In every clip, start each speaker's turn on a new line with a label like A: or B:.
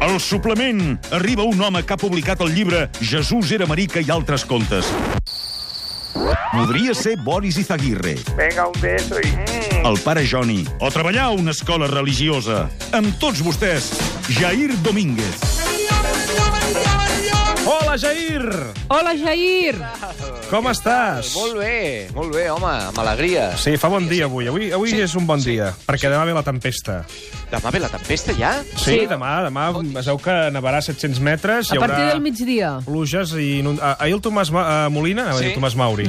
A: El suplement. Arriba un home que ha publicat el llibre Jesús era marica i altres contes. Podria ser Boris Izaguirre,
B: Venga, un beso y... mm.
A: el pare Joni, o treballar a una escola religiosa. Amb tots vostès, Jair Domínguez.
C: Hola, Jair!
D: Hola, Jair!
C: Com estàs?
E: Molt bé, molt bé, home, amb alegria.
C: Sí, fa bon dia avui. Avui, avui sí, és un bon sí, dia, perquè demà ve la tempesta.
E: Demà ve la tempesta, ja?
C: Sí, demà, demà es veu que nevarà 700 metres.
D: A partir del migdia.
C: pluges i... Inund... Ah, ahir el Tomàs Ma... eh, Molina, sí?
E: Sí?
C: el Tomàs Mauri,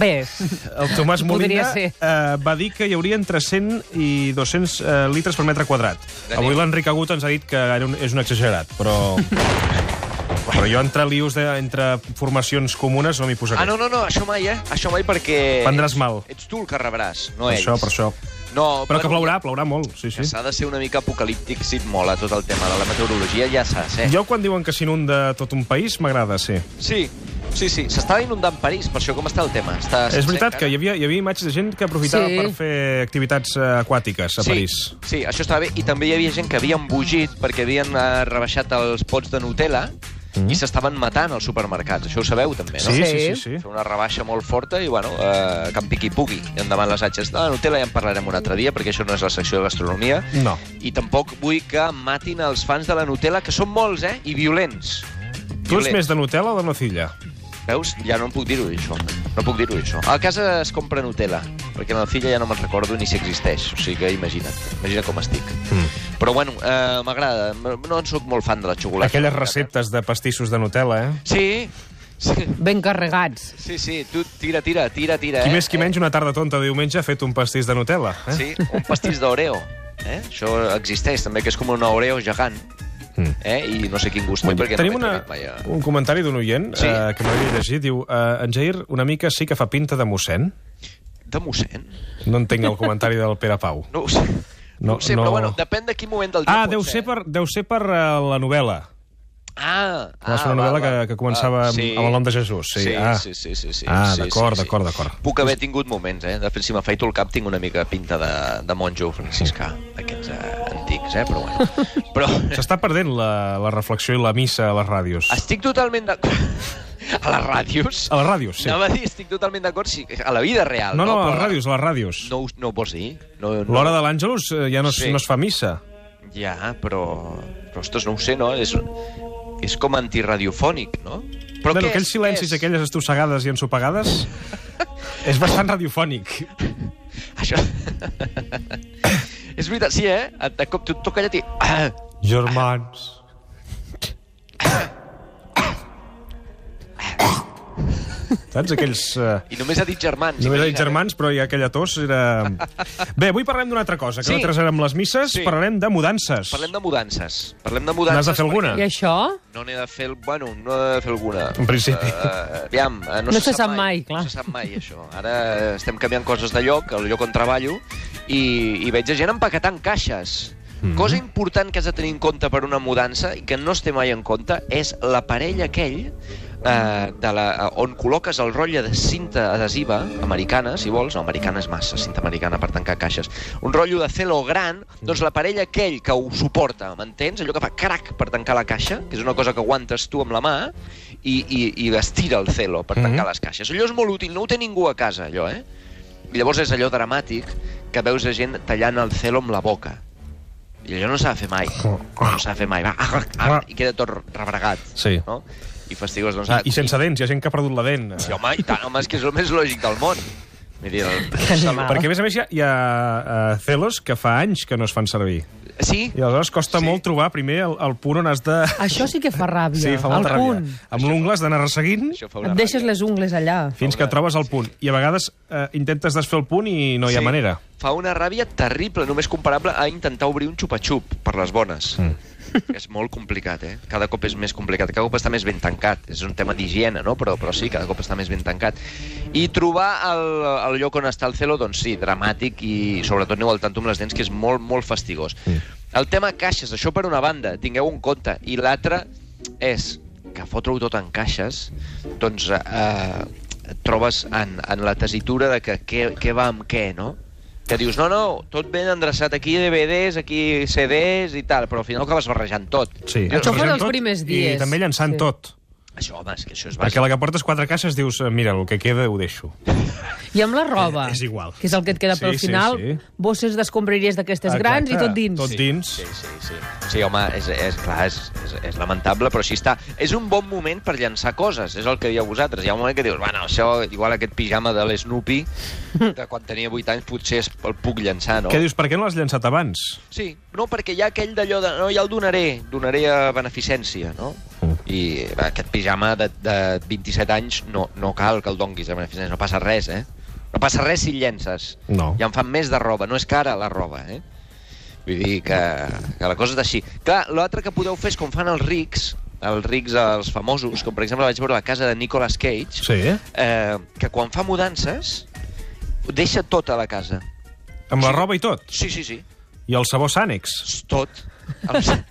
D: Bé,
C: el Tomàs Molina
D: Podria ser.
C: eh, va dir que hi hauria entre 100 i 200 eh, litres per metre quadrat.
E: Daniel.
C: Avui l'Enric Agut ens ha dit que era un, és un exagerat, però... però jo entre lius, de, entre formacions comunes, no m'hi posaré.
E: Ah, no, no, no, això mai, eh? Això mai perquè...
C: Prendràs mal.
E: Ets tu el que rebràs, no
C: Per
E: ells.
C: això, per això.
E: No,
C: Però que plourà, plourà molt, sí, sí.
E: Que s'ha de ser una mica apocalíptic si et mola tot el tema de la meteorologia, ja saps, eh?
C: Jo quan diuen que s'inunda tot un país, m'agrada, sí.
E: Sí, sí, sí. S'estava inundant París, per això com està el tema? Està
C: És veritat que hi havia, hi havia imatges de gent que aprofitava
D: Sí.
C: sí. per fer activitats eh, aquàtiques a
E: sí,
C: París.
E: Sí, això estava bé. I també hi havia gent que havia embogit perquè havien eh, rebaixat els pots de Nutella mm. i s'estaven matant als supermercats. Això ho sabeu, també, Eh, no?
C: Sí, sí,
D: Sí.
C: sí. sí,
E: Fer una rebaixa molt forta i, bueno, eh, que en piqui pugui. I endavant les atxes. De la Nutella ja en parlarem un altre dia, perquè això no és la secció de gastronomia.
C: No.
E: I tampoc vull que matin els fans de la Nutella, que són molts, eh? I violents.
C: Tu ets més de Nutella o de nocilla?
E: Veus? Ja no em puc dir-ho, això. No puc dir-ho, això. A casa es compra Nutella, perquè en la filla ja no me'n recordo ni si existeix. O sigui que imagina't, imagina com estic. Mm. Però bueno, eh, m'agrada. No en sóc molt fan de la xocolata.
C: Aquelles receptes de pastissos de Nutella, eh?
E: Sí, sí.
D: ben carregats.
E: Sí, sí, tu tira, tira, tira, tira,
C: Qui
E: eh?
C: més qui menys una tarda tonta de diumenge ha fet un pastís de Nutella.
E: Eh?
C: Eh?
E: Sí, un pastís d'Oreo. Eh? Això existeix, també, que és com un Oreo gegant.
C: Mm.
E: Eh? I no sé quin gust té, perquè
C: Tenim
E: no m'he
C: una,
E: atrevit mai a-
C: un comentari d'un oient
E: Sí.
C: eh, que m'havia llegit. Diu, eh, en Jair una mica sí que fa pinta de mossèn.
E: De mossèn?
C: No entenc el comentari del Pere Pau.
E: No ho sé.
C: No,
E: No, ho sé,
C: no.
E: però bueno, depèn de quin moment del dia
C: Ah,
E: pot
C: deu ser per, deu ser per uh, la novel·la.
E: Ah,
C: Va ser una novel·la que, que començava ah, sí. amb el nom de Jesús. Sí,
E: Sí,
C: ah.
E: sí, sí, sí, sí.
C: Ah,
E: sí,
C: d'acord,
E: sí, sí.
C: d'acord, d'acord.
E: Puc haver tingut moments, eh? De fet, si m'afaito el cap, tinc una mica pinta de, de monjo franciscà, d'aquests eh, antics, eh? Però bueno. Però
C: S'està perdent la, la reflexió i la missa a les ràdios.
E: estic totalment d'acord... A les ràdios?
C: A les ràdios, sí.
E: Anava a dir, estic totalment d'acord, sí, a la vida real.
C: No, no, a
E: Però
C: les ràdios, a les ràdios.
E: No, us- no ho pots dir. No, no.
C: L'hora de l'Àngelus eh, ja no, es,
E: Sí.
C: no es fa missa.
E: Ja, però... però Ostres, no ho sé, no? És, és com antiradiofònic, no? Però
C: Bueno,
E: què
C: aquells
E: és?
C: silencis,
E: Què és?
C: aquelles estossegades i ensopegades... és bastant radiofònic.
E: Això... és veritat, sí, eh? De cop tu toca allà i... Ah,
C: Germans. Saps? Aquells... Eh,
E: I només ha dit germans.
C: Només ha dit
E: imagina't.
C: germans, però hi ha aquella tos era... Bé, avui parlem d'una altra cosa, que
E: Sí.
C: sí. nosaltres érem les misses,
E: Sí.
C: sí. parlarem de mudances.
E: Parlem de mudances. Parlem de mudances.
C: N'has de fer alguna?
D: I això?
E: perquè No n'he de fer... el- Bueno, no he de fer alguna.
C: En principi.
E: Uh, aviam, eh, no,
D: No se sap mai, clar.
E: No se sap mai, això. Ara eh, estem canviant coses de lloc, el lloc on treballo, i, i veig a gent empaquetant caixes. Mm -hmm. Cosa important que has de tenir en compte per una mudança i que no es té mai en compte és l'aparell aquell eh, de la, on col·loques el rotlle de cinta adhesiva, americana, si vols, no, americana és massa, cinta americana per tancar caixes, un rotllo de celo gran, doncs l'aparell aquell que ho suporta, m'entens? Allò que fa crac per tancar la caixa, que és una cosa que aguantes tu amb la mà, i, i, i estira el celo per tancar mm -hmm. les caixes. Allò és molt útil, no ho té ningú a casa, allò, eh? I llavors és allò dramàtic que veus a gent tallant el celo amb la boca. I allò no s'ha de fer mai.
C: Oh,
E: No s'ha de fer mai. Va, ah, ah, I queda tot rebregat.
C: Sí.
E: No? I fastigós, doncs...
C: Ah, I, I sense dents, hi ha gent que ha perdut la dent.
E: Sí, home, i tant, home, és que és el més lògic del món. Vull dir, el...
D: animal.
C: Ah. Perquè, a més a més, hi ha, hi ha eh, celos que fa anys que no es fan servir.
E: Sí?
C: I aleshores costa
E: Sí.
C: sí. molt trobar primer el, el punt on has de...
D: Això sí que fa ràbia.
C: Sí, fa
D: Ah, el
C: molta ràbia.
D: punt.
C: Amb l'ungle has d'anar resseguint
E: Això fa
D: Et
E: una
D: deixes
E: ràbia.
D: les ungles allà.
C: fins que trobes el punt. I a vegades eh, intentes desfer el punt i no hi ha
E: Sí.
C: manera.
E: Fa una ràbia terrible, només comparable a intentar obrir un xupa-xup per les bones. Mm. És molt complicat, eh? Cada cop és més complicat, cada cop està més ben tancat. És un tema d'higiene, no? Però, però sí, cada cop està més ben tancat. I trobar el, el lloc on està el celo, doncs sí, dramàtic i sobretot aneu al tanto amb les dents, que és molt, molt fastigós. Mm. El tema caixes, això per una banda, tingueu un compte. I l'altre és que fotre-ho tot en caixes, doncs eh, et trobes en, en la tessitura de que què, què va amb què, no? que dius, no, no, tot ben endreçat aquí, DVDs, aquí CDs i tal, però al final acabes barrejant tot.
C: Sí.
D: Això
C: Barrejant
D: fora els
C: tot
D: primers
C: I
D: dies.
C: també llançant
D: Sí.
C: sí. tot.
E: Això, home, és que això és
C: Perquè
E: bàsic.
C: la que portes quatre caixes dius, eh, mira, el que queda ho deixo.
D: I amb la roba,
C: Eh, és igual.
D: que és el que et queda
C: Sí,
D: pel
C: sí,
D: final,
C: sí.
D: bosses d'escombraries d'aquestes
C: Exacte,
D: grans i tot dins.
C: Tot dins.
E: Sí, sí, sí. Sí, home, és, és clar, és, és, és lamentable, però així està. És un bon moment per llançar coses, és el que dieu vosaltres. Hi ha un moment que dius, bueno, això, igual aquest pijama de l'Snoopy, de quan tenia 8 anys, potser es- el puc llançar, no?
C: Què dius, per què no l'has llançat abans?
E: Sí, no, perquè hi ha aquell d'allò de... No, ja el donaré, donaré a beneficència, no?
C: Mm.
E: I va, aquest pijama de, de 27 anys no, no cal que el donguis a beneficència, no passa res, eh? No passa res si el llences.
C: No.
E: Ja en fan més de roba, no és cara la roba, eh? Vull dir que, que la cosa és així. Clar, l'altre que podeu fer és com fan els rics, els rics, els famosos, com per exemple vaig veure a la casa de Nicolas Cage,
C: Sí.
E: eh, que quan fa mudances deixa tota la casa.
C: Amb la roba i tot.
E: Sí, sí, sí.
C: I el sabó Sànex.
E: Tot. El...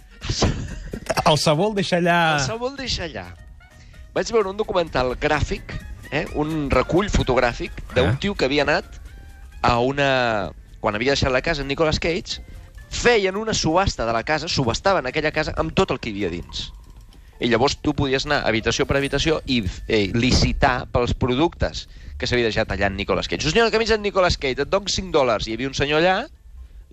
C: El sabó el deixa allà...
E: El sabó el deixa allà. Vaig veure un documental gràfic, eh? un recull fotogràfic d'un
C: Ah.
E: tio que havia anat a una... Quan havia deixat la casa, en Nicolas Cage, feien una subhasta de la casa, subhastaven aquella casa amb tot el que hi havia dins. I llavors tu podies anar habitació per habitació i eh, licitar pels productes que s'havia deixat allà en Nicolas Cage. Senyor, la camisa en Nicolas Cage, et dono 5 dòlars. Hi havia un senyor allà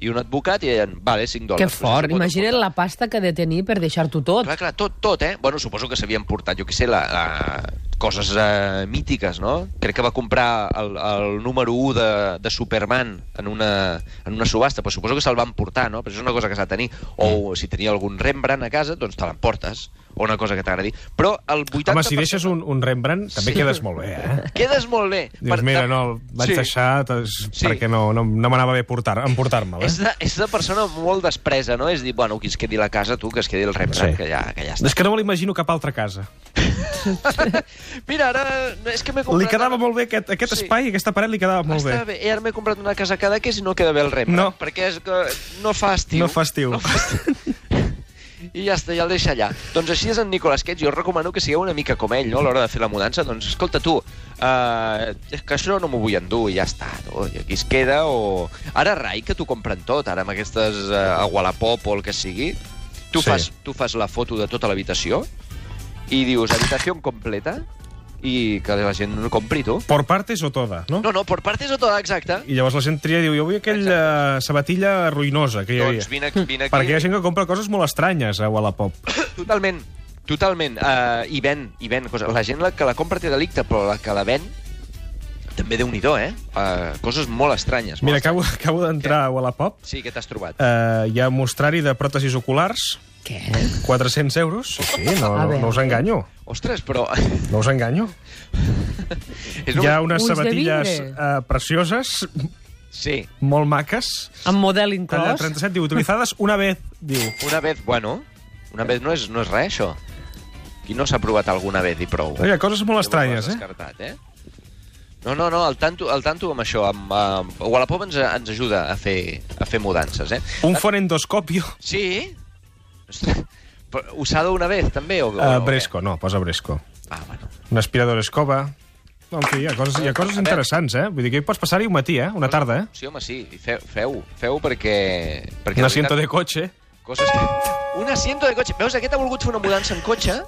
E: i un advocat i deien, vale, 5 dòlars.
D: Que
E: Doncs això
D: fort,
E: pot
D: imagina't
E: aportar.
D: la pasta que he de tenir per deixar-t'ho tot.
E: Clar, clar, tot, tot, eh? Bueno, suposo que s'havien portat, jo què sé, la, la... coses eh, mítiques, no? Crec que va comprar el, el número 1 de, de Superman en una, en una subhasta, però suposo que se'l van portar, no? Però és una cosa que s'ha de tenir.
C: Mm.
E: O si tenia algun Rembrandt a casa, doncs te l'emportes. O una cosa que t'agradi. Però el 80%...
C: Home, si deixes un, un Rembrandt, també
E: Sí.
C: quedes molt bé, eh?
E: Quedes molt bé.
C: Dius, mira, no, el vaig
E: sí.
C: deixar tes-
E: Sí.
C: perquè no, no, no m'anava bé portar, emportar-me'l, eh?
E: És de, és de persona molt despresa, no? És dir, bueno, qui es quedi la casa, tu, que es quedi el Rembrandt,
C: Sí.
E: que, ja, que ja està.
C: És que no me l'imagino cap altra casa.
E: Mira, ara... És que m'he comprat...
C: Li quedava molt bé aquest, aquest
E: Sí.
C: espai, aquesta paret li quedava molt
E: Està
C: bé.
E: bé. I ara m'he comprat una casa cada que si no queda bé el rem.
C: No.
E: Perquè és que no fa estiu.
C: No fa estiu.
E: I ja està, ja el deixa allà. Doncs així és en Nicolas Cage. Jo us recomano que sigueu una mica com ell, no?, a l'hora de fer la mudança. Doncs, escolta, tu, eh, és que això no m'ho vull endur i ja està. No? I aquí es queda o... Ara, rai, que t'ho compren tot, ara, amb aquestes eh, a Wallapop o el que sigui.
C: Sí.
E: Tu, sí. fas, tu fas la foto de tota l'habitació i dius, habitació completa, i que la gent no compri, tu.
C: Por partes o toda, no?
E: No, no, por partes o todo, exacte.
C: I llavors la gent tria i diu, jo vull aquella sabatilla ruïnosa que hi havia.
E: Doncs vine, aquí- vine aquí.
C: Perquè hi ha gent que compra coses molt estranyes a Wallapop.
E: Totalment, totalment. Uh, I ven, i ven. Cosa. La gent la que la compra té delicte, però la que la ven també déu nhi eh? Uh, coses molt estranyes. Molt
C: Mira,
E: estranyes.
C: acabo, acabo d'entrar a Wallapop.
E: Sí, què t'has trobat?
C: Uh, hi ha mostrari de pròtesis oculars,
D: Què?
C: 400 euros. Eh? Sí, sí, no,
D: A
C: no, no us
D: veure.
C: enganyo.
E: Ostres, però...
C: No us enganyo.
E: és
C: Hi ha unes
D: Ulls de
C: sabatilles
D: vidre.
C: uh, precioses,
E: Sí,
C: molt maques.
D: Amb model
C: Talla
D: inclòs?
C: 37, diu, utilitzades una vez, diu.
E: una vez, bueno, una vez no és, no és res, això. Qui no s'ha provat alguna vez i prou?
C: Hi ha coses molt estranyes, eh?
E: Descartat, eh? No, no, no, el tanto, el tanto amb això, amb, amb... Wallapop ens, ens ajuda a fer, a fer mudances, eh?
C: Un fonendoscopio.
E: Sí? Ostres, però usado una vez, també? O, o,
C: Uh,
E: o
C: Bresco, no, posa Bresco.
E: què? Ah, bueno.
C: Una aspiradora escova. No, en fi, hi ha coses, hi ha coses
E: A veure.
C: interessants, eh? Vull dir que hi pots passar-hi un matí, eh? Una
E: Mm.
C: tarda, eh?
E: Sí, home, sí, i feu, feu, feu perquè... perquè
C: Un
E: de
C: asiento de
E: veritat,
C: cotxe.
E: Coses que... Un asiento de cotxe. Veus, aquest ha volgut fer una mudança en cotxe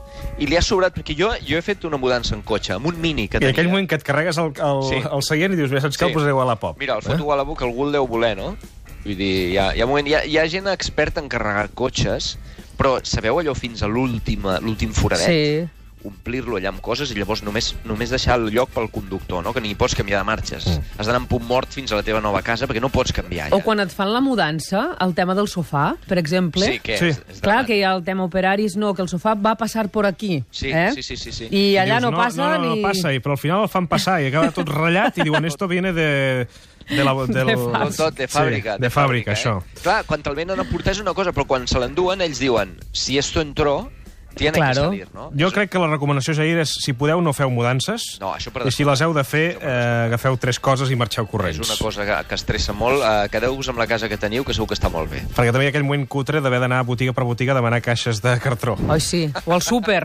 E: i li ha sobrat... Perquè jo, jo he fet una mudança en cotxe, amb un mini
C: I
E: que
C: en
E: tenia.
C: aquell moment que et carregues el, el, sí.
E: Sí.
C: el seient i dius, bé, saps què? El
E: Sí.
C: posaré a la pop.
E: Mira, el foto eh? a la boca, algú el deu voler, no? Vull dir, hi ha, hi ha, moment, hi ha, hi ha gent experta en carregar cotxes, però sabeu allò fins a l'última- l'últim foradet?
D: Sí.
E: omplir-lo allà amb coses i llavors només, només deixar el lloc pel conductor, no? que ni pots canviar de marxes. Mm. Has d'anar amb punt mort fins a la teva nova casa perquè no pots canviar allà.
D: O quan et fan la mudança, el tema del sofà, per exemple.
E: Sí, que
C: Sí.
E: és, és
D: Clar,
E: dramàtic.
D: que hi ha el tema operaris, no, que el sofà va passar per aquí.
E: Sí,
D: eh?
E: sí, sí, sí, sí.
D: I allà
C: dius,
D: no, passa
C: no, no,
D: ni...
C: No passa, i, però al final el fan passar i acaba tot ratllat i diuen, esto viene de... De, la, del...
D: De
E: Tot, tot de fàbrica.
C: Sí, de fàbrica, això.
E: Eh? Clar, quan te'l venen a portar és una cosa, però quan se l'enduen ells diuen si esto entró, tiene
D: Claro.
E: que salir, no?
C: Jo crec que la recomanació, Jair, és si podeu no feu mudances
E: No, això per
C: i si les heu de fer,
E: Això per
C: eh, agafeu tres coses i marxeu
E: És
C: corrents.
E: una cosa que, que estressa molt. Uh, Quedeu-vos amb la casa que teniu, que segur que està molt bé.
C: Perquè també hi ha aquell moment cutre d'haver d'anar botiga per botiga a demanar caixes de cartró.
D: Oi, sí. O el súper.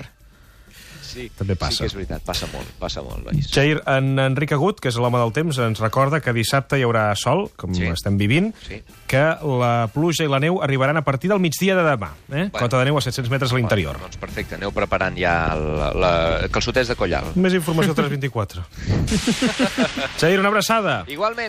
E: sí,
C: També passa.
E: Sí que és veritat, passa molt, passa molt, Lois.
C: Jair, en Enric Agut, que és l'home del temps, ens recorda que dissabte hi haurà sol, com
E: Sí.
C: sí. estem vivint,
E: Sí.
C: que la pluja i la neu arribaran a partir del migdia de demà. Eh?
E: Bueno.
C: Cota de neu a 700 metres a l'interior.
E: Doncs perfecte, aneu preparant ja la, la calçotets de Collal.
C: Més informació al 324. Jair, una abraçada.
E: Igualment.